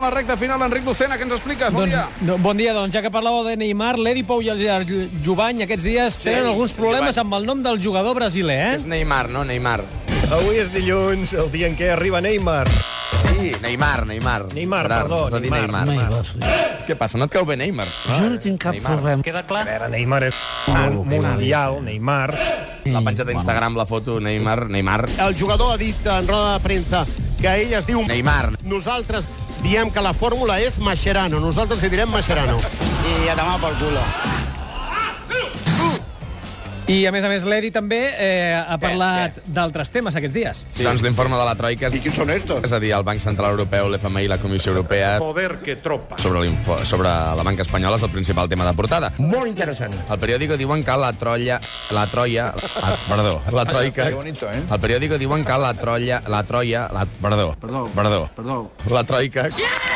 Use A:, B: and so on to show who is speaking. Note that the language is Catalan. A: La recta final, Enric Lucena, què ens expliques? Bon
B: doncs,
A: dia.
B: No, bon dia, doncs ja que parlàveu de Neymar, l'Edi Pou i el Gerard Jovany aquests dies sí, tenen alguns problemes
C: Jovany.
B: amb el nom del jugador brasiler, eh?
C: És Neymar, no? Neymar.
D: Avui és dilluns, el dia en què arriba Neymar.
C: Sí, Neymar, Neymar.
D: Neymar, perdó,
C: no dir
D: Neymar.
C: Neymar. Què passa? No et cau bé Neymar?
E: Jo no tinc cap
C: Neymar.
E: problema.
B: Queda
D: A
B: clar?
D: veure, Neymar és un mundial, Neymar.
C: La penjat a Instagram, la foto, Neymar, Neymar.
F: El jugador ha dit en roda de premsa que ell es diu...
C: Neymar.
F: Nosaltres diem que la fórmula és Mascherano. Nosaltres hi direm Mascherano.
B: I, a més a més, l'Edi també eh, ha parlat d'altres temes aquests dies.
C: Sí. Doncs l'informe de la Troika... I qui són estos? És a dir, el Banc Central Europeu, l'FMI i la Comissió Europea... Poder que tropa. Sobre, l'info- sobre la banca espanyola és el principal tema de portada.
E: Molt interessant.
C: El periòdico diuen que la trolla... La troia... La, perdó. La troica...
G: bonito, eh?
C: El periòdico diuen que la trolla... La troia... La, perdó. Perdó. Perdó. La troica... Yeah!